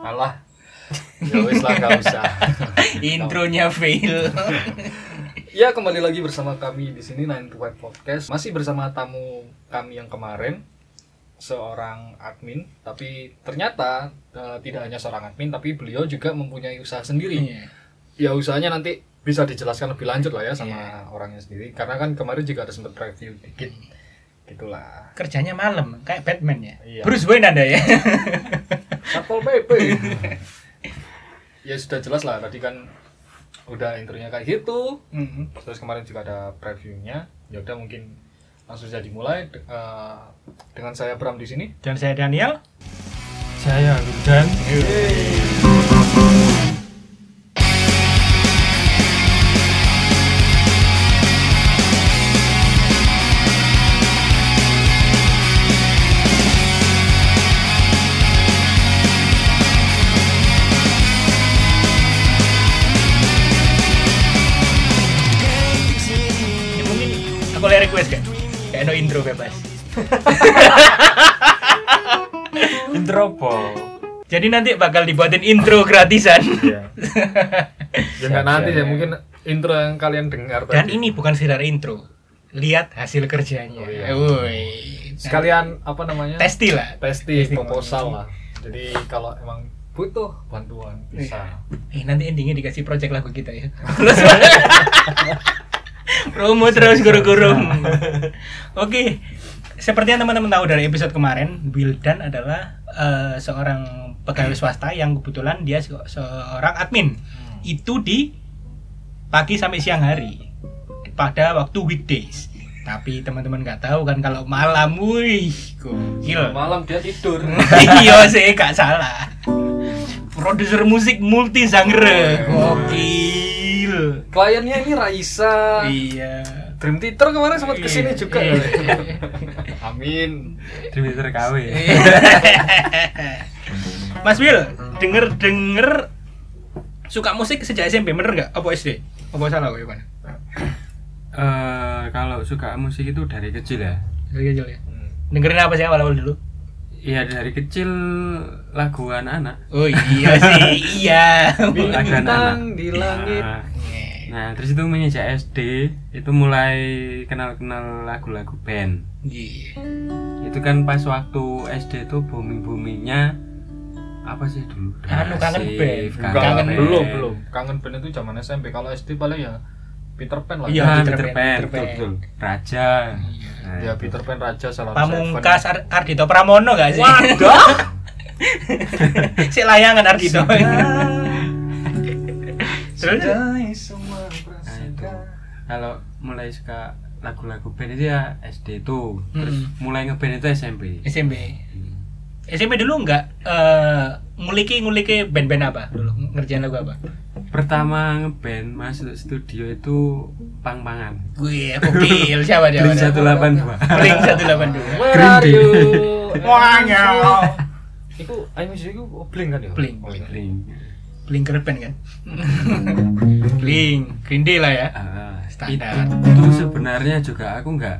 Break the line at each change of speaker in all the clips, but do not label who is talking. Alah,
ya wis lah nggak usah
Intronya fail.
ya kembali lagi bersama kami di sini Nine to Five Podcast. Masih bersama tamu kami yang kemarin seorang admin, tapi ternyata eh, tidak hanya seorang admin, tapi beliau juga mempunyai usaha sendiri.
Iya.
Ya usahanya nanti bisa dijelaskan lebih lanjut lah ya sama
Iya.
orangnya sendiri. Karena kan kemarin juga ada sempat review dikit, gitulah.
Kerjanya malam kayak Batman ya.
Iya.
Bruce Wayne Anda ya.
Satpol PP. ya sudah jelas lah tadi kan udah intronya kayak gitu.
Mm-mm.
terus kemarin juga ada previewnya ya udah mungkin langsung saja dimulai De- eh, dengan saya Bram di sini
Dan saya Daniel. Saya Wildan.
Ya, mungkin aku boleh request gak? Kayak no intro bebas.
Intro
Jadi nanti bakal dibuatin intro gratisan.
Iya.
ya nggak nanti ya mungkin intro yang kalian dengar
Dan
tadi
ini bukan sekedar intro. Lihat hasil kerjanya.
Oh, iya.
Woi.
sekalian apa namanya
Testi lah.
testi proposal lah jadi kalau emang butuh bantuan bisa
Eh nanti endingnya dikasih project lagu kita ya. Promo terus guru-guru. Oke. Seperti yang teman-teman tahu dari episode kemarin, Wildan adalah eh, seorang pegawai swasta yang kebetulan dia se- seorang admin. Itu di pagi sampai siang hari pada waktu weekdays. Tapi teman-teman nggak tahu kan kalau malam, wih, gokil.
malam dia tidur
iya sih gak salah produser musik multi genre gokil
kliennya ini Raisa
iya
Dream Theater kemarin sempat kesini juga
Iya.
Amin
Twitter KW.
Mas Wil denger denger suka musik sejak SMP bener nggak apa SD apa salah gue mana
Eh, kalau suka musik itu dari kecil ya.
dari kecil ya dengerin apa sih awal awal dulu
Iya dari kecil lagu anak-anak.
oh iya sih iya
Lagu anak-anak.
bintang Iya. di langit
Nah, nah, terus itu menginjak SD itu mulai kenal-kenal lagu-lagu band.
Iya.
Itu kan pas waktu SD itu booming-boomingnya apa sih dulu?
Anu, kangen
Dasif,
band.
Enggak,
Kangen
band. Nah,
belum belum kangen band itu zaman SMP kalau SD paling ya Peter Pan lah
Iya,
Nah,
Peter
Peter
Pan,
Pan,
Peter
betul,
Pan.
betul. Raja. Nah,
Iya,
Ya
itu.
Peter Pan Raja salah
Pamungkas Ar- Ardito Pramono gak sih?
Waduh.
si layangan Ardito. Terus
Nah, itu. Kalau mulai suka lagu-lagu band itu ya SD itu. Terus
Hmm.
mulai ngeband itu SMP.
SMP.
Hmm.
SMP dulu nggak eh nguliki nguliki band-band apa dulu ngerjain lagu apa?
Pertama ngeband masuk studio itu pang-pangan.
Gue gokil siapa dia?
Blink 182.
Blink
Where
Green
are
Day.
you?
Wanya.
Iku I miss you iku Blink kan ya?
Blink.
Blink.
182. Blink Kerpen kan? Blink Green Day lah ya.
Ah,
Standar.
Itu sebenarnya juga aku nggak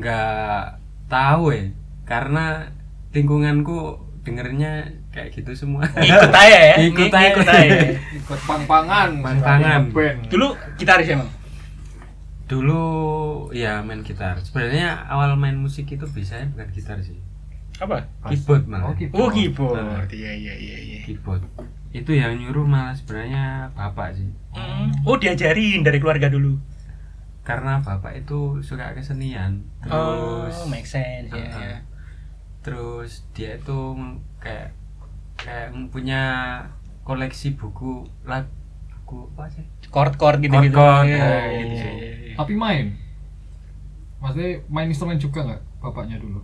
nggak tahu ya karena lingkunganku dengernya kayak gitu semua.
Ikut aja ya. Ng-
Ikut aja.
Ikut aja.
Ikut pang-pangan.
Pang-pangan.
Band.
Dulu gitaris emang.
Dulu ya main gitar. Sebenarnya awal main musik itu biasanya bukan gitar sih.
Apa?
Keyboard malah.
Oh, keyboard.
Oh keyboard.
Nah.
Iya iya iya iya.
keyboard. Itu yang nyuruh malah sebenarnya bapak sih.
Oh diajarin dari keluarga dulu.
Karena bapak itu suka kesenian. Terus
oh, make sense ya.
Ah,
ya.
terus dia itu kayak kayak punya koleksi buku lagu buku apa sih?
Chord chord gitu gitu.
Chord-chord,
Iya,
oh,
iya,
gitu
iya,
sih.
iya, iya.
Tapi main. Maksudnya main instrumen juga nggak bapaknya dulu?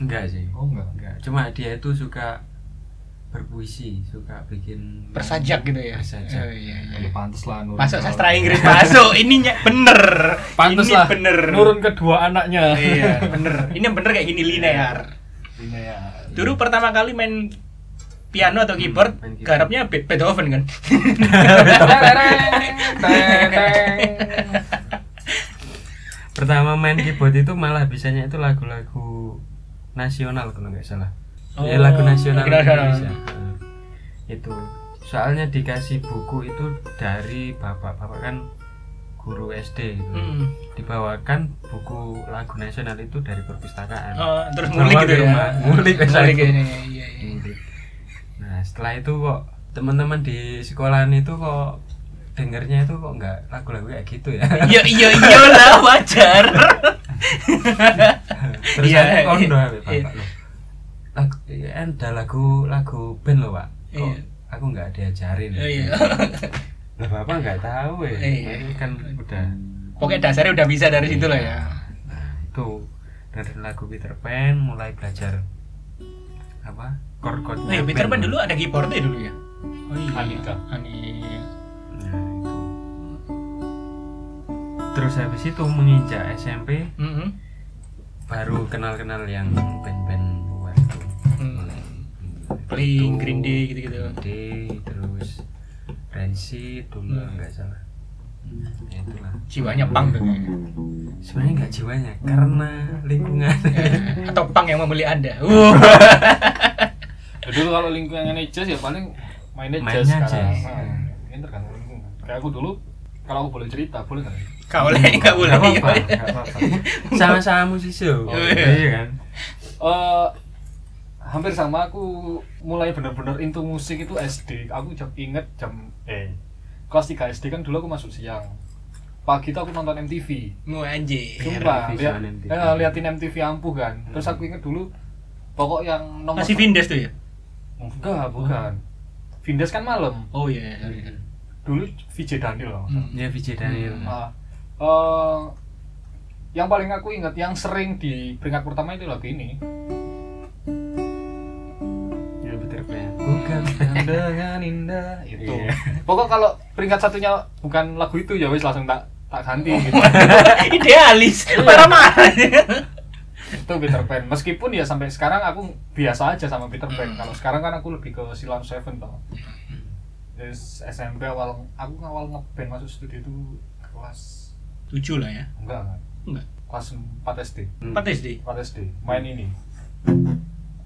Enggak sih.
Oh enggak.
Enggak. Cuma dia itu suka berpuisi, suka bikin
Persajak gitu ya. Oh,
Persajak.
iya, iya.
Ya pantes lah nurun.
Masuk sastra Inggris masuk ininya bener.
Pantes
ini
lah.
bener.
Nurun kedua anaknya.
Iya, bener. Ini yang bener kayak gini linear.
Iya.
Ini ya.
Dulu pertama kali main piano atau keyboard,
Hmm, main keyboard. Hmm.
garapnya Be- Beethoven kan.
Tereng, tereng.
Pertama main keyboard itu malah bisanya itu lagu-lagu nasional kalau nggak salah.
Oh,
ya lagu nasional
lagu nasional.
Indonesia. Heeh. itu soalnya dikasih buku itu dari bapak bapak kan guru SD gitu
Hmm.
dibawakan buku lagu nasional itu dari perpustakaan
Oh, terus
Bawa
ngulik gitu
di
ya.
rumah. Ngulik, Hmm.
Ngulik
besok.
ini. Iya, iya.
Ngulik. nah setelah itu kok teman-teman di sekolahan itu kok dengernya itu kok nggak lagu-lagu kayak gitu ya
Iya, iya, iya lah wajar.
terus
Iya,
aku kondo
iya,
sampe
iya.
bapak lo lagu iya, ada lagu lagu band lo pak kok
Iya.
aku nggak diajarin ya?
Oh, Iya.
lah bapak nggak tahu ya
Iya.
Itu kan udah
Pokoknya dasarnya udah bisa dari situ lah ya.
nah, itu dari lagu Peter Pan mulai belajar apa chord-chordnya
Eh, Peter Pan
band. Nah,
dulu ada keyboardnya dulu ya. Oh iya.
Anika.
Anika.
Nah, itu. Terus habis itu menginjak SMP
Mm-mm.
baru kenal-kenal yang band-band luar itu.
Hmm.
Mulai-
Blink,
itu,
Green Day gitu-gitu.
Green Day, terus Rancid dulu
Hmm.
nggak salah. Ya, itulah.
Jiwanya pang tuh. kayaknya.
Sebenarnya nggak jiwanya
Hmm.
karena lingkungan.
Eh, Atau pang yang membeli Anda. Uh. Wuh.
Ya, dulu kalau lingkungannya jazz ya paling mainnya jazz
Mainnya
sekarang.
jazz.
Nah, ini tergantung lingkungan. Kayak aku dulu kalau aku boleh cerita, boleh nggak?
Kau lah enggak boleh.
Nggak apa-apa, nggak apa-apa. Sama-sama musisi.
Oh, iya.
iya kan?
Eh, hampir sama aku mulai bener-bener into musik itu SD. Aku jam inget jam eh kelas 3 SD kan dulu aku masuk siang. Pagi itu aku nonton MTV.
Mu anjing.
Sumpah,
visual
lihat,
MTV.
eh, liatin MTV ampuh kan. Terus aku inget dulu pokok yang nomor
Masih Vindes tuh ya?
enggak, bukan. Vindes kan malam.
Oh iya, sorry.
Dulu VJ Daniel loh.
Hmm.
Ya VJ Daniel.
Ah, eh, yang paling aku ingat yang sering di peringkat pertama itu lagu ini.
Ya Hmm. Peter Pan. Bukan
dengan indah itu.
Iya.
Pokok kalau peringkat satunya bukan lagu itu ya wis langsung tak tak ganti
Oh.
gitu.
Idealis,
Iya.
marah-marah.
itu Peter Pan. Meskipun ya sampai sekarang aku biasa aja sama Peter
Hmm.
Pan. Kalau sekarang kan aku lebih ke Silam Seven tau. Terus SMP awal aku awal ngeband masuk studio itu kelas
Tujuh lah ya.
enggak enggak
Enggak.
kelas 4 SD.
Empat SD.
4 SD main ini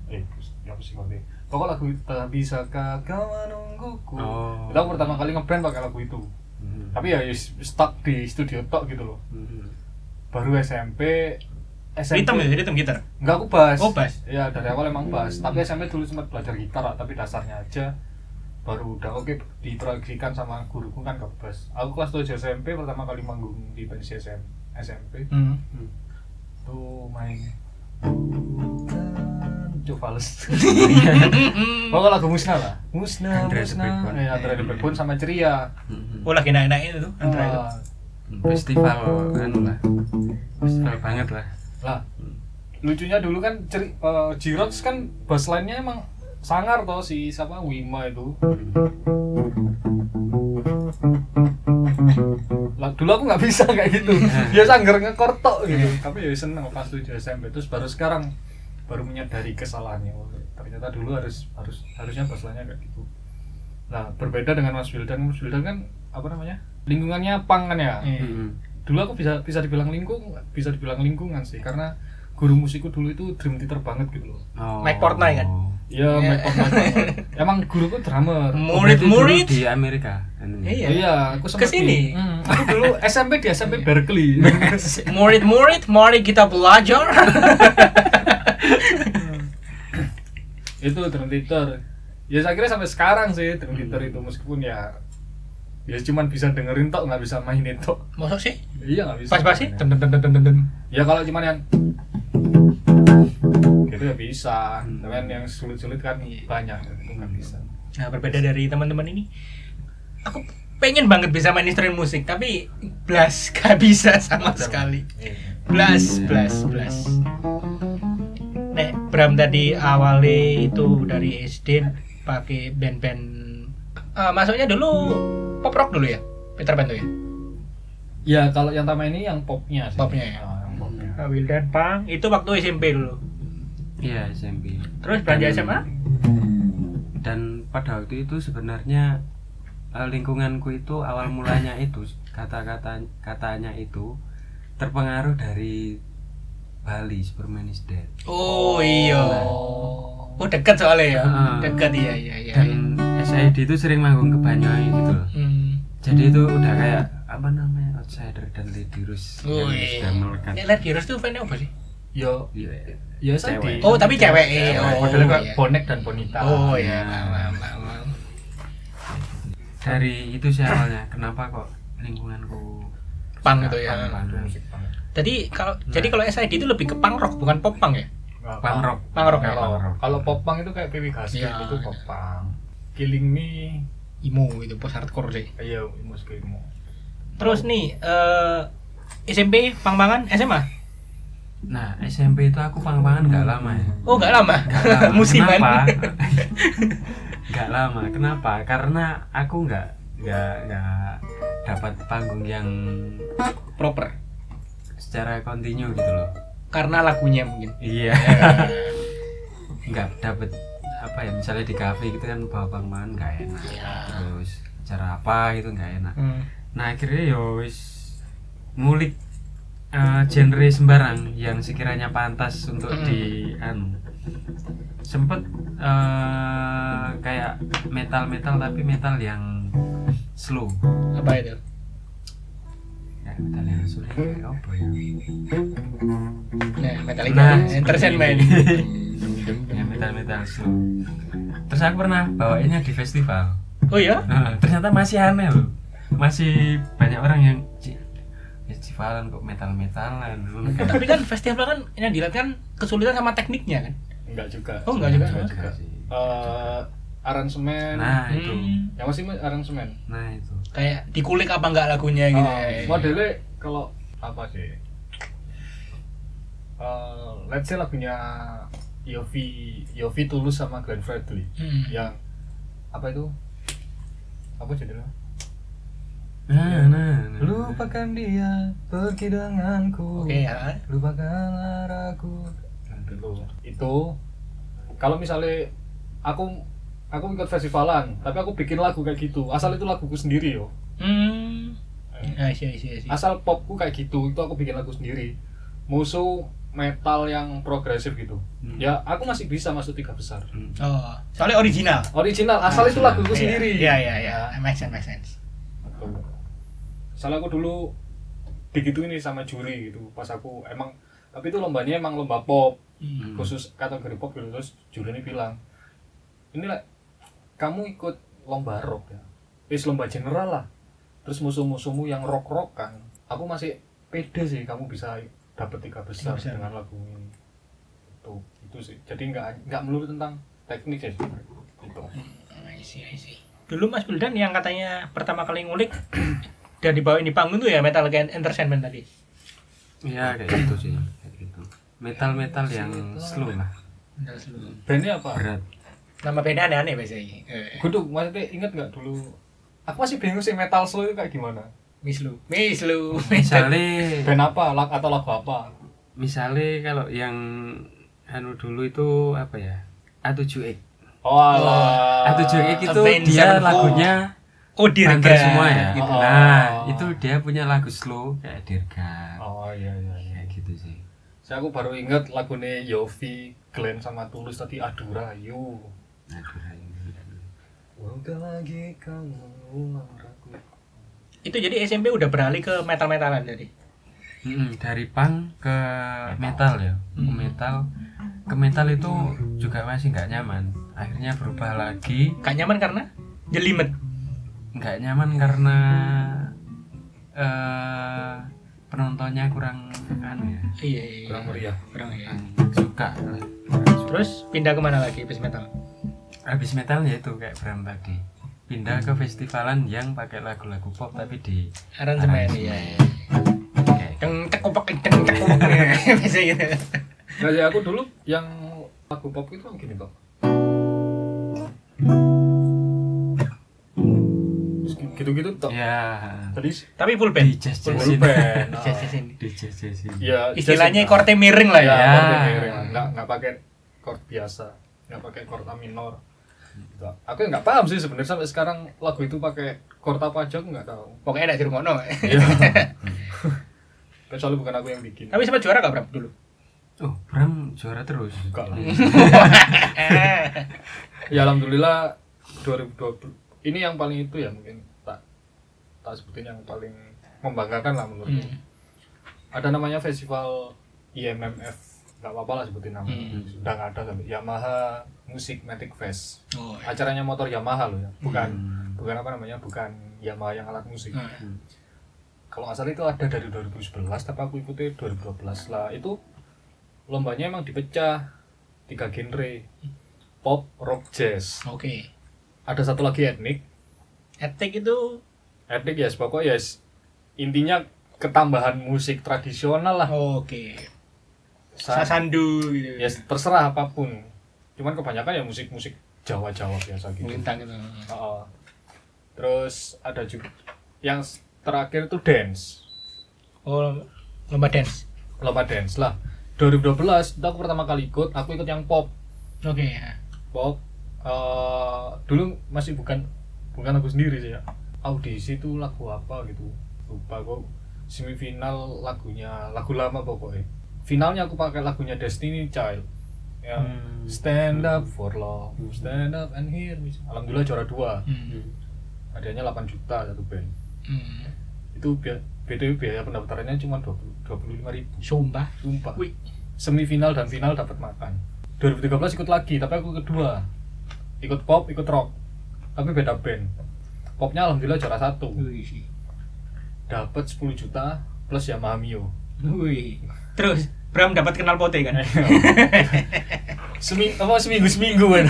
eh ya apa sih konten pokok lagu tak bisa kau menungguku
Oh.
kita pertama kali ngeband pakai lagu itu tapi ya is- stuck di studio tok gitu loh
Hmm.
baru SMP SMP
Ritem ya, ritem gitar.
enggak aku bass
Oh, bass.
ya dari awal emang bass tapi SMP dulu sempat belajar gitar lah, tapi dasarnya aja baru udah oke diproyeksikan sama guruku kan ke bass aku kelas 7 SMP pertama kali manggung di pensi SM, SMP
Hmm.
tuh main coba fals pokoknya lagu musnah lah musnah
Andrea the
musnah
Backbone.
ya antara the Backbone sama ceria
Hmm.
Oh lagi naik-naik itu, antara itu.
Wah,
Festival kan lah. Festival banget lah.
lah lucunya dulu kan ceri eh, Jirox kan bassline-nya emang sangar toh si siapa Wima itu
Hmm.
lah dulu aku nggak bisa kayak gitu biasa anggar ngekor tok gitu tapi ya seneng pas tujuh SMP terus baru sekarang baru menyadari kesalahannya Wah, ternyata dulu harus harus harusnya baselannya kayak gitu nah berbeda dengan Mas Wildan Mas Wildan kan apa namanya lingkungannya pang kan ya
Iya.
Hmm.
dulu aku bisa bisa dibilang lingkung bisa dibilang lingkungan sih karena guru musikku dulu itu dream theater banget gitu loh
Oh.
Mike Portnoy kan?
Iya,
Iya.
make up, make up. Emang guruku drummer.
Oh, berarti dulu
Murid-murid.
di Amerika. anu ya?
Iya.
Iya, aku sempet
Kesini? Iya.
di- Hmm, aku dulu SMP di SMP Berkeley.
Murid-murid, mari kita belajar.
itu drum theater ya saya kira sampai sekarang sih drum theater
Hmm.
itu meskipun ya ya cuman bisa dengerin tok nggak bisa mainin tok
Masuk sih?
iya nggak bisa
Pas pasti. Tem tem tem tem tem tem.
ya kalau cuman yang gitu ya bisa
Hmm.
tapi kan yang sulit-sulit kan
Iya.
banyak itu nggak bisa
Nah, berbeda dari teman-teman ini. Aku pengen banget bisa main instrumen musik, tapi blas gak bisa sama sekali. Blas, blas, blas. Nek Bram tadi awalnya itu dari SD pakai band-band Eh, masuknya dulu pop rock dulu ya. Peter Pan tuh ya.
ya kalau yang pertama ini yang popnya sih.
Popnya ya?
Ah, yang popnya
Wildan Pang itu waktu SMP dulu.
Iya, SMP.
Terus belanja
Dan-
SMA?
Dan pada waktu itu sebenarnya eh, lingkunganku itu awal mulanya itu kata-kata katanya itu terpengaruh dari Bali Superman is Dead.
Oh iya. Oh dekat soalnya ya.
Ah.
Dekat iya iya iya.
Dan Saidi itu sering manggung ke Banyuwangi gitu loh.
Hmm.
Jadi itu udah kayak apa namanya outsider dan ledirus yang
Wih.
sudah melekat.
Ya, Led Girls tuh fan apa sih?
Yo,
Iya, iya.
yo saya
Cewek.
di.
Oh, tapi cewek. eh.
Ya, Cewek.
Oh,
Modelnya kayak
iya.
bonek dan bonita.
Oh
Ya.
iya, paham, paham, paham.
Dari itu sih awalnya kenapa kok lingkunganku
Pang itu ya.
Pang, pang.
Jadi kalau jadi kalau SID itu lebih ke punk rock bukan pop punk ya?
Pang rock.
Punk rock ya.
Pang rock.
Kalau kalau popang itu kayak PPK
Iya.
itu popang. gitu, Killing me,
Imo itu post hardcore sih.
iya imus killing
Terus nih eh SMP pang-pangan SMA?
Nah, SMP itu aku pang-pangan gak lama ya.
Oh, gak lama.
Gak lama.
Musiman.
Kenapa? gak lama. Kenapa? Karena aku nggak nggak nggak dapat panggung yang
Proper.
secara kontinu gitu loh.
Karena lagunya mungkin.
Iya. nggak dapat apa ya misalnya di kafe gitu kan bawa panggungan nggak enak.
Ya.
Terus acara apa gitu nggak enak.
Hmm.
Nah akhirnya ya wis ngulik eh, genre sembarang yang sekiranya pantas untuk
Mm.
di anu. Sempet eh, kayak metal-metal tapi metal yang slow.
Apa itu?
Kayak metal yang slow ya, kayak apa ya?
Nah, Metallica. Nah,
Nah,
Entertainment.
seperti Ya metal-metal slow. Terus aku pernah bawainnya di festival.
Oh iya?
Nah, ternyata masih aneh loh masih banyak orang yang "Ci, festivalan kok metal metalan
Tapi kan festival kan yang dilihat kan kesulitan sama tekniknya kan.
Enggak juga.
Oh, enggak juga.
Eh, aransemen.
nah itu
Hmm.
Yang masih aransemen.
nah itu
Kayak dikulik apa enggak lagunya gitu.
Oh, modelnya kalau apa sih? Eh, let's say lagunya Yofi Yofi Tulus sama Glenn Fredly
Hmm.
yang apa itu? Apa judulnya?
nah nah,
Hmm.
nah.
Lupakan dia, pergi denganku.
Oke ya.
Lupakan arahku.
Yang dulu. Itu kalau misalnya aku aku ikut festivalan, tapi aku bikin lagu kayak gitu. Asal itu laguku sendiri yo.
Hmm. Ah, iya, iya, iya.
Asal popku kayak gitu, itu aku bikin lagu sendiri. Musuh metal yang progresif gitu.
Hmm.
Ya, aku masih bisa masuk tiga besar.
Hmm.
Oh, soalnya original.
original asal itu laguku
Iya,
sendiri Ya.
Iya, iya, iya. Make sense, make sense.
Betul. soalnya aku dulu begitu ini sama juri gitu pas aku emang tapi itu lombanya emang lomba pop
Hmm.
khusus kategori pop gitu terus juri ini bilang ini lah kamu ikut lomba rock ya wis lomba general lah terus musuh-musuhmu yang rock rockan aku masih pede sih kamu bisa dapet tiga besar,
Tiga besar.
dengan lagu ini itu itu sih jadi nggak nggak melulu tentang teknik ya, Gitu. sih itu
I see, I see. Dulu Mas Bildan yang katanya pertama kali ngulik dan dibawain di panggung tuh ya Metal Gear Entertainment tadi.
ya kayak gitu sih kayak gitu metal metal yang slow lah
bandnya apa
berat
Nama beda aneh-aneh biasanya. Eh,
Guduk, maksudnya inget nggak dulu? Aku masih bingung sih metal slow itu kayak gimana?
Miss Lu. Miss Lu.
misalnya
Band apa, lag atau lagu apa?
misalnya kalau yang anu dulu itu apa ya A7X
Oh, alah.
A7X itu
Avenged
dia
Sevenfold.
lagunya
Oh, dirga.
Mantan semua ya.
Gitu.
Oh.
Nah, itu dia punya lagu slow kayak Dirga.
Oh iya iya iya.
Kayak gitu sih.
Saya aku baru inget lagunya Yofi, Glenn sama Tulus tadi Adurayu.
Aduh, ayo.
Moga lagi kamu ulang ragu.
Itu jadi SMP udah beralih ke metal-metalan tadi.
Mm-mm, dari punk ke metal ya. Ke metal ke metal itu juga masih nggak nyaman. Akhirnya berubah lagi.
Gak nyaman karena jelimet.
Nggak nyaman karena eh penontonnya kurang anu ya.
Iya, iya, iya.
Kurang meriah.
Kurang iya.
suka.
Terus pindah kemana lagi habis metal?
Habis metal ya itu kayak Bram tadi. Pindah ke festivalan yang pakai lagu-lagu pop tapi di
Aransemen iya. iya.
kayak
Deng tekopok deng tekopok biasa gitu.
Nah, ya aku dulu yang lagu pop itu yang gini kok. Terus Gitu-gitu toh.
Ya.
Tadi
Tapi full
Di
band.
jazz
full band.
Di jazz sini.
Di jazz
Ya,
Istilahnya
Jason-
korte miring lah
ya,
ya.
Ya.
chord minor, nggak nggak pakai chord biasa nggak pakai chord A minor Gitu. aku ya nggak paham sih sebenarnya sampai sekarang lagu itu pakai chord apa aja aku nggak tahu
Pokoknya ada dirungokno.
Iya. kecuali bukan aku yang bikin
Tapi sempat juara gak Bram dulu?
Oh, Bram juara terus.
Enggak lah. ya alhamdulillah 2020 ini yang paling itu ya mungkin tak tak sebutin yang paling membanggakan lah menurutku.
Hmm.
Ada namanya festival IMMF, nggak apa-apa lah sebutin namanya.
Hmm.
Sudah nggak ada sampai Yamaha Music Matic Fest.
Oh, iya.
Acaranya motor Yamaha loh ya, bukan bukan apa namanya, bukan Yamaha yang alat musik.
Oh, iya.
Kalau nggak salah itu ada dari 2011, tapi aku ikuti 2012 lah. Itu lombanya emang dipecah tiga genre, pop, rock, jazz.
Oke.
Ada satu lagi etnik,
Etik itu
etnik ya pokoknya ya intinya ketambahan musik tradisional lah
oh, oke.
Sa-
Sasandu gitu.
ya terserah apapun cuman kebanyakan ya musik musik Jawa Jawa biasa gitu
Melintang gitu.
Heeh. terus ada juga yang s- terakhir tuh dance
Oh, lomba dance.
lomba dance lah 2012 itu aku pertama kali ikut aku ikut yang pop
Oke. ya.
pop eh, dulu masih bukan bukan aku sendiri sih ya audisi tuh lagu apa gitu lupa kok semifinal lagunya lagu lama pokoknya finalnya aku pakai lagunya Destiny Child ya
Hmm.
stand up for love stand up and hear me alhamdulillah juara dua
Hmm.
hadiahnya 8 juta satu band
Hmm.
itu biaya BTW biaya pendaftarannya cuma 20 25 ribu
Sumpah.
sumpah
Wih.
semifinal dan final dapat makan 2013 ikut lagi tapi aku kedua ikut pop ikut rock tapi beda band popnya alhamdulillah juara satu
Wih.
dapat 10 juta plus Yamaha Mio
Wih. Terus Bram dapat kenal pote kan?
Semi apa seminggu seminggu kan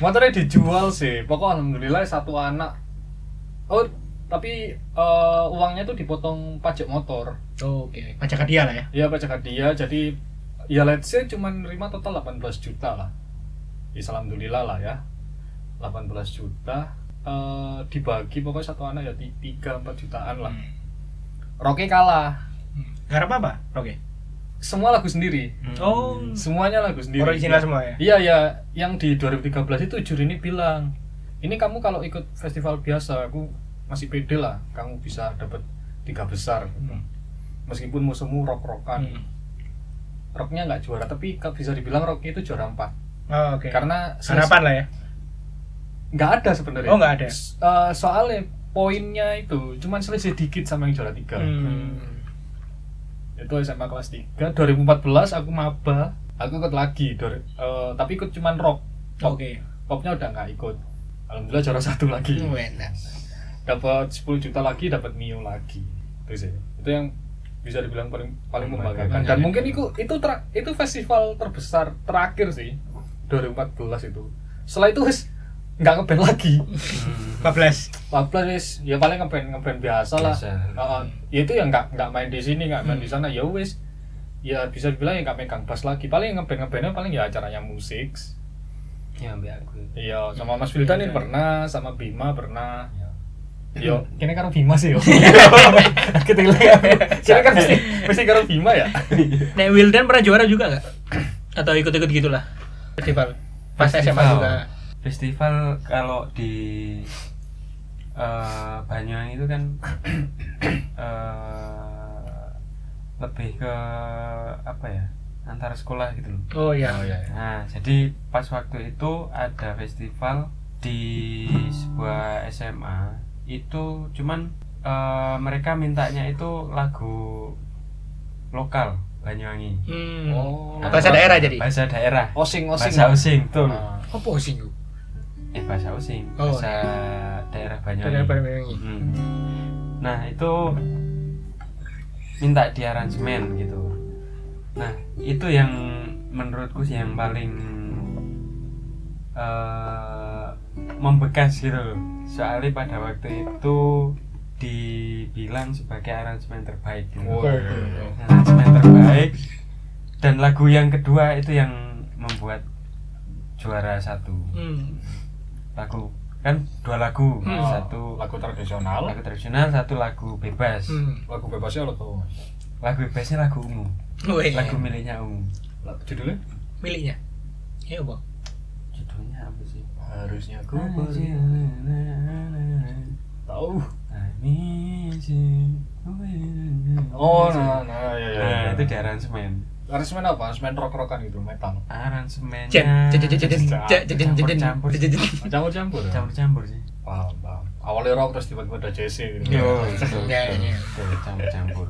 motornya dijual sih pokok alhamdulillah satu anak oh tapi eh, uangnya tuh dipotong pajak motor
Oh, oke. Pajak hadiah lah ya.
ya pajak hadiah jadi ya let's say cuma nerima total 18 juta lah ya alhamdulillah lah ya 18 juta eh, dibagi pokoknya satu anak ya 3-4 jutaan lah
Hmm.
Rocky kalah
Hmm. Gak apa apa? Oke.
semua lagu sendiri
Oh.
semuanya lagu sendiri
Original semua ya.
iya ya yang di 2013 itu juri ini bilang ini kamu kalau ikut festival biasa aku masih pede lah kamu bisa dapat tiga besar
Hmm.
meskipun musuhmu rock-rockan
Hmm.
rocknya nggak juara tapi ka- bisa dibilang rocknya itu juara empat
Oh, oke.
karena
harapan lah ya.
nggak ada sebenarnya
Oh, nggak ada.
S- eh, soalnya poinnya itu cuman selisih dikit sama yang juara tiga Hmm.
Hmm.
itu SMA kelas 3 2014 aku maba aku ikut lagi dor- eh, tapi ikut cuman rock pop
Oke.
popnya udah nggak ikut alhamdulillah juara satu lagi
Oh, enak.
dapat 10 juta lagi dapat mio lagi itu sih itu yang bisa dibilang paling paling membanggakan dan mungkin itu itu ter- itu festival terbesar terakhir sih 2014 itu setelah itu wis nggak ngeband lagi
14.
14 wis ya paling ngeband ngeband biasa lah
Biasa.
Heeh. ya itu yang nggak nggak main di sini nggak main di sana ya wis ya bisa dibilang ya nggak megang bass lagi paling ngeband ngebandnya paling ya acaranya musik
ya ambil aku
iya sama Mas Wildan ini pernah sama Bima pernah
Ya.
Yo, kene karo Bima sih yo. Ketelek. Kene kan mesti mesti karo Bima ya.
Nek Wildan pernah juara juga nggak? Atau ikut-ikut gitulah festival pas SMA
Festival.
juga.
festival kalau di eh, Banyuwangi itu kan eh, lebih ke apa ya antar sekolah gitu loh
Oh iya.
Nah, jadi pas waktu itu ada festival di sebuah SMA. Itu cuman eh, mereka mintanya itu lagu lokal Banyuwangi.
Hmm.
Oh.
Bahasa daerah jadi. Oh,
Bahasa daerah.
Osing-osing.
Bahasa Osing, betul.
Ah.
Apa sih itu?
Eh, bahasa Osing.
Oh.
Bahasa daerah Banyuwangi.
Daerah Banyuwangi.
Mm. Nah, itu minta di aransemen gitu. Nah, itu yang menurutku sih yang paling eh, membekas gitu loh. Soalnya pada waktu itu dibilang sebagai aransemen terbaik. Gitu.
Oh.
Aransemen terbaik dan lagu yang kedua itu yang membuat juara satu
Hmm.
lagu kan dua lagu
Hmm.
satu
lagu tradisional,
lagu tradisional satu lagu bebas
Hmm.
lagu bebasnya lo tau.
lagu bebasnya lagu umum
Weh.
lagu miliknya umum
Lagu judulnya
miliknya. Iya, Bang.
judulnya apa sih
harusnya aku ber-
Nah,
tahu.
ini sih.
Oh, nah, nah, ya, ya, ya. Iya.
Nah, itu di aransemen
Aransemen apa? Aransemen rock-rockan gitu, metal.
aransemennya
Jen, jen, jen, jen, jen, jen, jen, jen, jen,
Campur-campur
jen,
sih.
jen.
Campur-campur ya?
campur-campur sih
Paham, paham. Awalnya rock terus tiba-tiba ada JC gitu.
Iya,
Iya, iya.
betul, campur-campur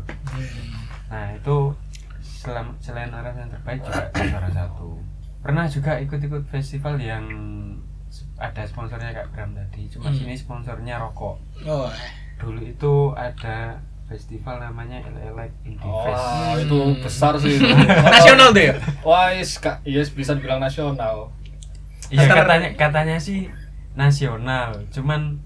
nah itu selam- selain aras yang terbaik juga itu salah satu pernah juga ikut-ikut festival yang s- ada sponsornya kak Bram tadi cuma
Hmm.
sini sponsornya rokok
Oh,
dulu itu ada festival namanya Elelek Indie Fest
Oh,
Hmm.
itu besar sih. itu.
nasional tuh ya?
Wah, yes, Kak, yes, bisa dibilang nasional.
Iya
Customer-
katanya katanya sih nasional, cuman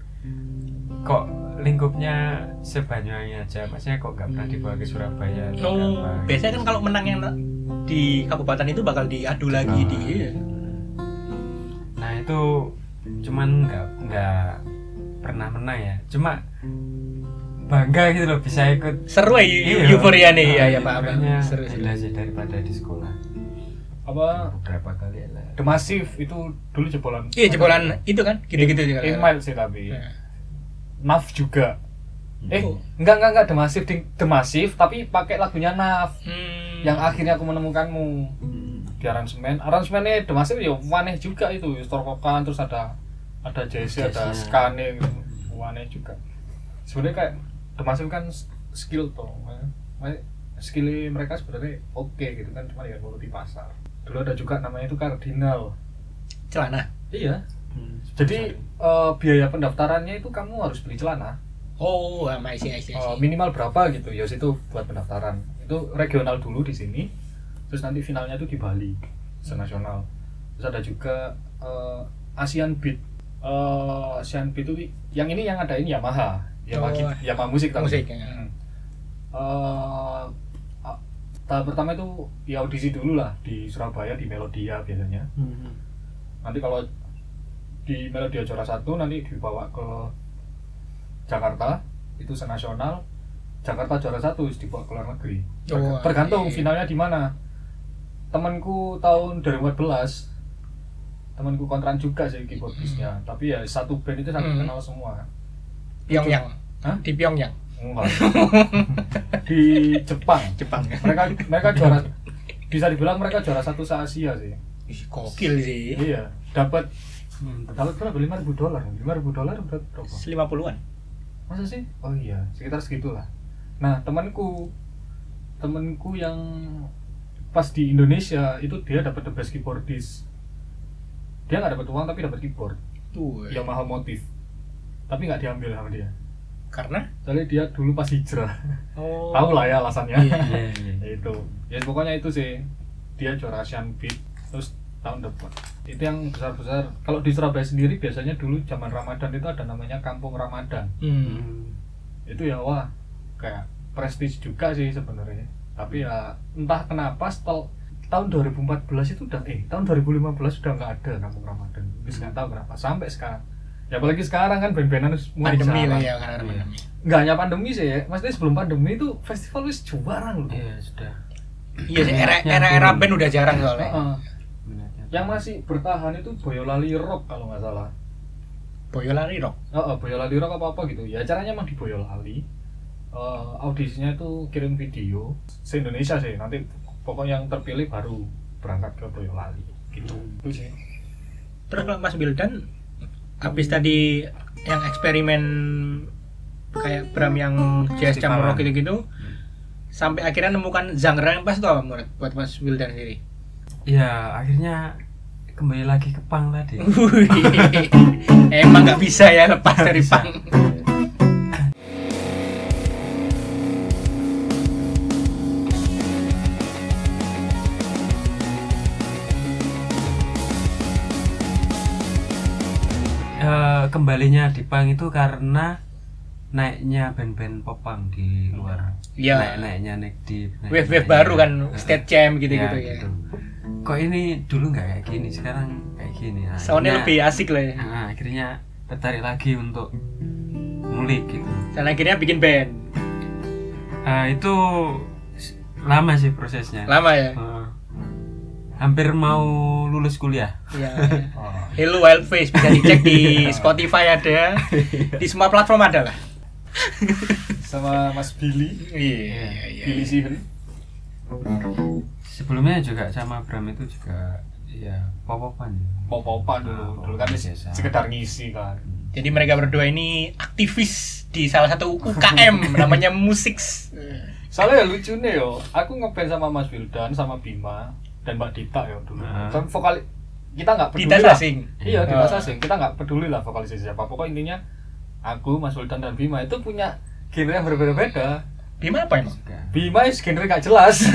kok lingkupnya sebanyuwangi aja, maksudnya kok nggak pernah dibawa ke Surabaya. atau
Oh,
apa gitu.
biasanya kan kalau menang yang di kabupaten itu bakal diadu lagi di
Nah itu cuman nggak nggak pernah menang ya, cuma bangga gitu loh bisa ikut.
seru ya eu- euforia nih ya ya Pak.
Euforia
Seru sih.
Iya. Nah, gila sih daripada di sekolah.
Apa
Beberapa kali ya lah.
The Massive itu dulu jebolan.
Iya jebolan itu kan gitu-gitu juga.
Email sih tapi.
Iya.
Naf juga. Eh,
Oh.
enggak enggak enggak The Massive, Ding- The Massive tapi pakai lagunya Naf
Hmm.
yang akhirnya aku menemukanmu
Hmm.
di aransemen. Aransemennya The Massive ya aneh juga itu, Storkokan terus ada ada JC, ada
Jazz-nya.
Skane gitu. Aneh juga. Sebenarnya kayak The Massive kan s- skill toh. Makanya skill mereka sebenarnya oke gitu kan cuma ya kalau di pasar. Dulu ada juga namanya itu Cardinal.
celana.
Iya, jadi eh, biaya pendaftarannya itu kamu harus beli celana
Oh, sama isi isi.
Eh, minimal berapa gitu ya itu buat pendaftaran itu regional dulu di sini terus nanti finalnya itu di Bali senasional terus ada juga eh, ASEAN Beat Eh, ASEAN Beat itu yang ini yang ngadain Yamaha Yamaha,
Oh.
git- Yamaha musik tapi
Musik, ya.
Hmm. Eh, a- tahap pertama itu ya audisi dulu lah di Surabaya di Melodia biasanya
Hmm.
nanti kalau di Melodia Juara satu nanti dibawa ke Jakarta itu senasional Jakarta juara satu terus dibawa ke luar negeri
Oh,
tergantung
iya.
finalnya di mana temanku tahun 2014 temanku kontran juga sih keyboardisnya
Mm-hmm.
tapi ya satu band itu saling
Hmm.
kenal semua
Pyongyang.
Hah?
Di Pyongyang,
Enggak. di Jepang ya?
Jepang.
mereka mereka juara bisa dibilang mereka juara satu se Asia sih
Ih, Gokil sih.
iya dapat hmm, dapat berapa lima ribu dolar lima ribu dolar udah berapa
50-an.
masa sih oh iya sekitar segitulah nah temanku temanku yang pas di Indonesia itu dia dapat the best keyboardist dia nggak dapat uang tapi dapat keyboard
Tuh.
yang mahal motif tapi nggak diambil sama dia
Karena
soalnya dia dulu pas hijrah
oh.
tahu lah ya alasannya
Iya, iya.
Ya itu ya pokoknya itu sih dia juara Asian Beat terus tahun depan itu yang besar besar kalau di Surabaya sendiri biasanya dulu zaman Ramadan itu ada namanya Kampung Ramadan
Hmm.
Hmm.
itu ya wah kayak prestis juga sih sebenarnya tapi ya entah kenapa setel tahun 2014 itu udah eh tahun 2015 sudah nggak ada kampung Ramadan Terus nggak tahu kenapa sampai sekarang ya apalagi sekarang kan band-bandan harus mulai
Pandemi
jalan.
lah ya karena
Iya.
pandemi.
nggak hanya pandemi sih ya maksudnya sebelum pandemi itu festival wis jarang loh
Iya, sudah.
Iya, sih, era era era band udah jarang soalnya.
Heeh.
Minatnya
yang
turun.
masih bertahan itu Boyolali Rock kalau nggak salah
Boyolali rock.
Heeh, Boyolali Rock apa apa gitu ya acaranya emang di Boyolali Eh, audisinya itu kirim video se Indonesia sih nanti pokoknya yang terpilih baru berangkat ke Boyolali gitu itu sih
Terus kalau Mas Wildan habis tadi yang eksperimen kayak Bram yang jazz
Festivalan.
campur rock gitu-gitu sampai akhirnya nemukan genre yang pas tuh apa menurut buat Mas Wildan sendiri.
Ya, akhirnya kembali lagi ke pang tadi.
Wih, Emang nggak bisa ya lepas dari
Bisa.
pang.
Eh, kembalinya di pang itu karena naiknya band-band popang di luar.
Iya.
Naik-naiknya naik di
Wave-wave baru kan state jam gitu-gitu ya.
gitu. Kok ini dulu nggak kayak gini, sekarang kayak gini. Nah,
Soundnya lebih
akhirnya-
asik lah ya.
Nah, akhirnya tertarik lagi untuk ngulik gitu.
Dan akhirnya bikin band.
Ah, itu s- lama sih prosesnya.
Lama ya.
Ah. hampir mau lulus kuliah.
Iya.
Ah.
Hello Wild Face bisa dicek di Spotify ada, ya. di semua platform ada lah.
sama Mas Billy
Iya, iya,
Billy Sihen
sebelumnya juga sama Bram itu juga ya popopan ya.
pop-popan dulu dulu kan
Biasa.
sekedar ngisi kan
Jadi mereka berdua ini aktivis di salah satu UKM namanya Musik.
soalnya ya lucunya yo aku ngeband sama Mas Wildan sama Bima dan Mbak Dita yo dulu
Nah.
kan vokal kita nggak peduli
Dita
lah.
Sasing.
iya Dita
Oh.
Sasing kita nggak peduli lah vokalisnya siapa pokoknya intinya aku Mas Wildan dan Bima itu punya genre yang berbeda-beda
Bima apa emang?
Juga.
Bima is genre gak jelas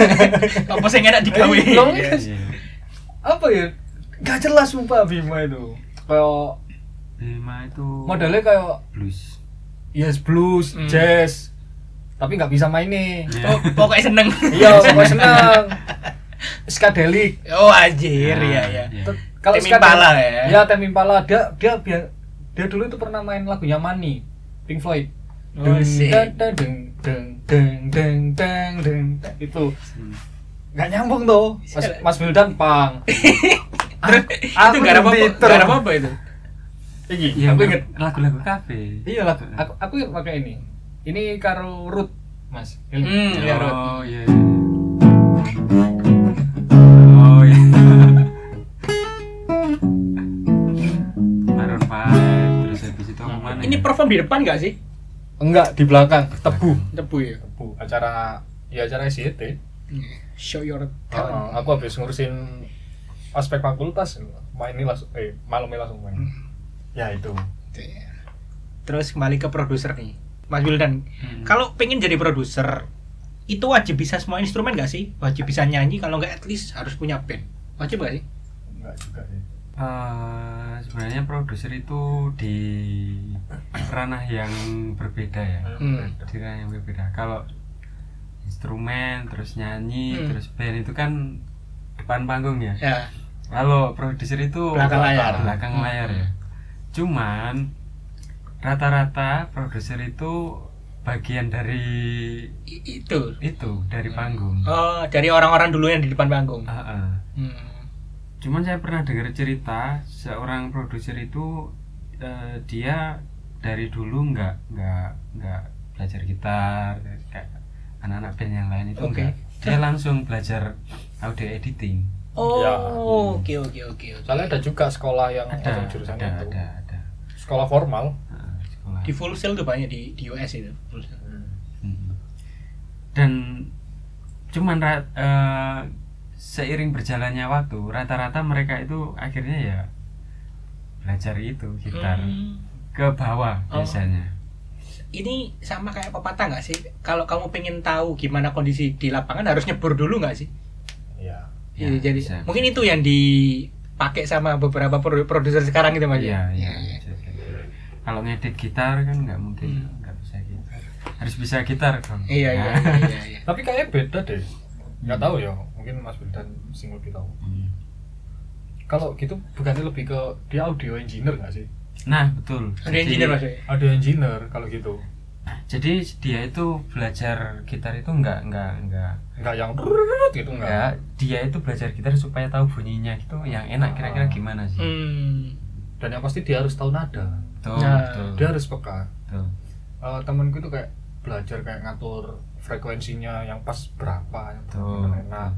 Apa sih yang enak digawe?
Iya, dong.
Iya.
Iya.
apa ya gak jelas sumpah Bima itu kayak
Bima itu
modelnya kayak
blues.
yes blues
Hmm.
jazz tapi nggak bisa mainin
Oh, pokoknya seneng.
iya pokoknya seneng skadelik
Oh anjir ya ya.
Ter- kalau
Tim
sekarang-
Impala ya?
Iya, Tim Impala dia dia bia- dia dulu itu pernah main lagunya Money Pink Floyd.
Oh, sih.
deng, deng, deng, deng, deng, deng, deng, deng, deng. itu nggak nyambung tuh Mas, Mas Wildan pang Ah,
Terus itu
aku
gak ada apa-apa,
Twitter.
gak ada apa-apa itu.
Iki,
Iya,
aku inget
lagu-lagu kafe. Eh.
iya lagu aku aku inget pakai ini ini karo Ruth Mas
Hmm, iya, Rod.
Oh iya. iya. Oh iya. Maroon 5 terus habis itu aku mana?
Ini
ya?
perform di depan gak sih?
enggak di belakang tebu
Tebu ya.
tebu acara ya acara SCT
Iya. Show your
Oh,
talent.
aku habis ngurusin aspek fakultas main ini langsung eh malamnya langsung main ya itu
Terus kembali ke produser nih. Mas Wildan,
Hmm.
kalau pengen jadi produser itu wajib bisa semua instrumen gak sih? Wajib bisa nyanyi kalau nggak at least harus punya band. Wajib gak sih?
enggak juga sih
Eh, sebenarnya produser itu di ranah yang berbeda ya.
Hmm.
Di ranah yang berbeda. Kalau instrumen terus nyanyi
Hmm.
terus band itu kan depan panggung ya.
Ya.
Kalau produser itu
Belakang layar.
Oh, belakang
Hmm.
layar ya. Cuman rata-rata produser itu bagian dari
I- Itu.
itu dari panggung.
Oh, dari orang-orang dulu yang di depan panggung.
Heeh.
Hmm.
Cuman saya pernah dengar cerita seorang produser itu eh, dia dari dulu nggak nggak nggak belajar gitar kayak anak-anak band yang lain itu
Oke.
enggak. Dia langsung belajar audio editing.
Ya.
Oh, oke oke oke. oke.
soalnya ada juga sekolah yang
Oh,
Ada,
langsung jurusannya
ada,
itu
ada, ada.
sekolah formal
Heeh, sekolah.
Di full sale tuh banyak di, di US itu. Full Sail.
Hmm.
Mhm. dan cuman ra- eh, seiring berjalannya waktu rata-rata mereka itu akhirnya ya belajar itu gitar
Hmm.
ke bawah
Oh.
biasanya
Ini sama kayak pepatah nggak sih? Kalau kamu pengen tahu gimana kondisi di lapangan harus nyebur dulu nggak sih?
ya
Ya,
Iya, jadi
bisa,
mungkin
bisa.
itu yang dipakai sama beberapa produ- produser sekarang gitu mas.
iya iya
Ya, ya.
bisa, bisa. kalau ngedit gitar kan nggak mungkin
Hmm.
nggak bisa gitar harus bisa gitar dong
Iya iya
Ya.
iya, iya, iya.
tapi kayaknya beda deh nggak tahu ya mungkin Mas Wildan sing lebih tahu
Hmm.
kalau gitu bukannya lebih ke dia audio engineer nggak sih
nah betul
Ada
Jadi-
engineer maksudnya.
audio engineer kalau gitu
jadi dia itu belajar gitar itu nggak nggak nggak
nggak yang brrrr gitu nggak
enggak dia itu belajar gitar supaya tahu bunyinya gitu yang enak kira-kira
Ah.
gimana sih
Hmm.
dan yang pasti dia harus tahu nada
betul
Nah,
betul,
dia harus peka
betul.
Eh, temenku itu kayak belajar kayak ngatur frekuensinya yang pas Nah, gitu. berapa yang
Betul.
enak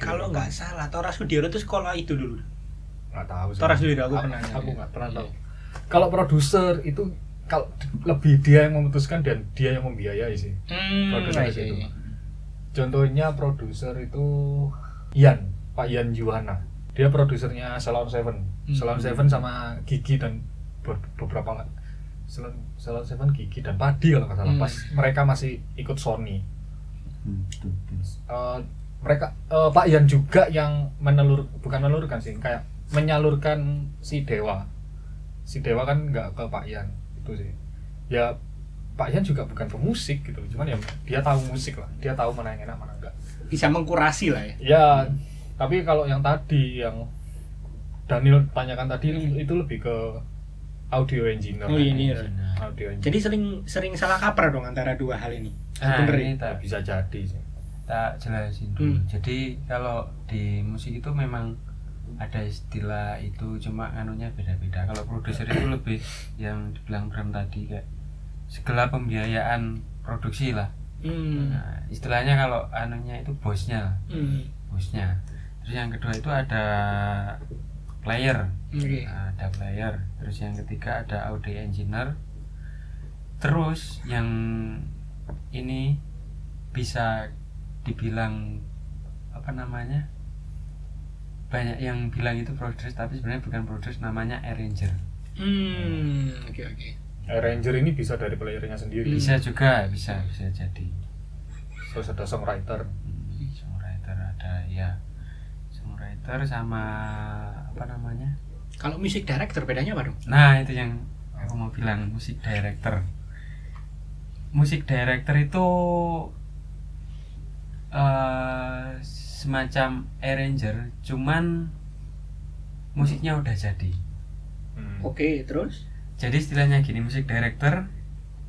Kalau nggak salah, Tora Sudiro itu sekolah itu dulu.
nggak tahu sih
Toras dulu, aku
A-
pernah nanya.
aku nggak pernah tahu kalau produser itu kalau d- lebih dia yang memutuskan dan dia yang membiayai sih
Hmm.
produser
iya,
itu
iya.
contohnya produser itu Ian Pak Ian Juhana dia produsernya Salon Seven
Hmm.
Salon Seven sama Gigi dan be- beberapa la- Salon, Salon Seven Gigi dan Padi kalau nggak salah
Hmm.
pas mereka masih ikut Sony
Hmm, betul, betul.
Eh, mereka eh, Pak Ian juga yang menelur bukan menelurkan sih kayak menyalurkan si dewa si dewa kan nggak ke Pak Ian itu sih ya Pak Ian juga bukan pemusik gitu cuman ya dia tahu musik lah dia tahu mana yang enak mana enggak
Bisa mengkurasi lah ya.
ya tapi kalau yang tadi yang Daniel tanyakan tadi itu lebih ke audio engineer
Hmm. Oh,
Iya.
engineer.
audio engineer
Jadi sering sering salah kaprah dong antara dua hal ini.
Nah,
Sebenarnya.
ini tak,
bisa jadi sih
tak jelasin dulu.
Hmm.
Jadi kalau di musik itu memang ada istilah itu cuma anunya beda-beda. Kalau produser itu lebih yang dibilang Bram tadi kayak segala pembiayaan produksi lah.
Hmm.
Nah, istilahnya kalau anunya itu bosnya,
Hmm.
hostnya terus yang kedua itu ada player
Oke.
ada player terus yang ketiga ada audio engineer terus yang ini bisa dibilang apa namanya banyak yang bilang itu produce tapi sebenarnya bukan produce namanya arranger
Hmm, oke oke.
Ranger ini bisa dari playernya sendiri
Hmm.
bisa juga bisa bisa jadi
terus ada songwriter
Hmm, songwriter ada ya songwriter sama apa namanya
Kalau music director bedanya apa dong?
Nah itu yang aku mau bilang musik director. Musik director itu eh semacam arranger, cuman musiknya udah jadi.
Hmm.
Oke, terus?
Jadi istilahnya gini, musik director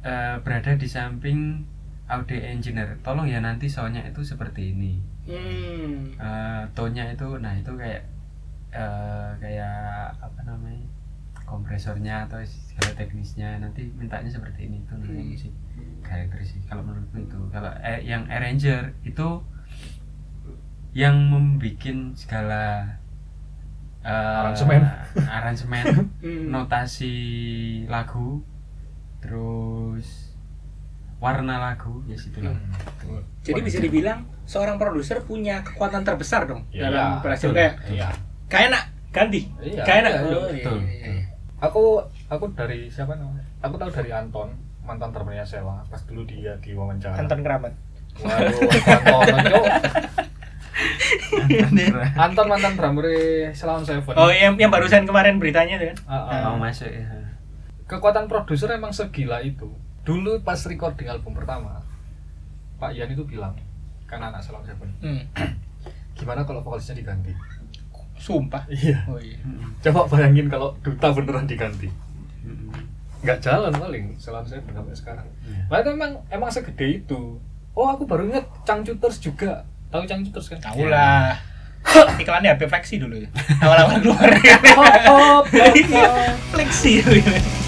eh, berada di samping audio engineer. Tolong ya nanti soundnya itu seperti ini.
Hmm.
eh tone-nya itu nah itu kayak eh kayak apa namanya kompresornya atau segala teknisnya nanti mintanya seperti ini itu namanya
Hmm.
musik karakter sih kalau menurutku itu kalau eh, yang arranger itu yang membuat segala eh,
Aransemen.
aransemen
Hmm.
Nah, notasi lagu terus warna lagu ya situlah
Hmm.
Jadi bisa dibilang seorang produser punya kekuatan terbesar dong
Iya,
dalam berhasil
betul.
kayak
Iya.
kayak enak ganti.
Iya,
kayak enak.
iya,
Oh, iya,
betul,
iya, iya.
aku aku dari siapa namanya aku tahu dari Anton mantan temennya Sela pas dulu dia diwawancara
Anton Keramat.
waduh Anton Cuk. Anton mantan drummer Selawan Seven
Oh, yang yang barusan kemarin beritanya tuh kan.
Ah, ah.
mau masuk ya
kekuatan produser emang segila itu dulu pas recording album pertama Pak Ian itu bilang karena anak Selawan Seven
Hmm.
gimana kalau vokalisnya diganti
Sumpah.
iya
Oh iya.
Hmm.
coba bayangin kalau duta beneran diganti
Mm-mm.
nggak jalan paling Selawan Seven sampai sekarang
Iya.
Nah, itu emang emang segede itu. Oh, aku baru inget Cangcuters juga. Tahu Cangcuters kan?
Tahu lah.
Oh,
Iklannya HP Flexi dulu ya. Awal-awal keluar.
Hop, hop, hop, hop.
Flexi.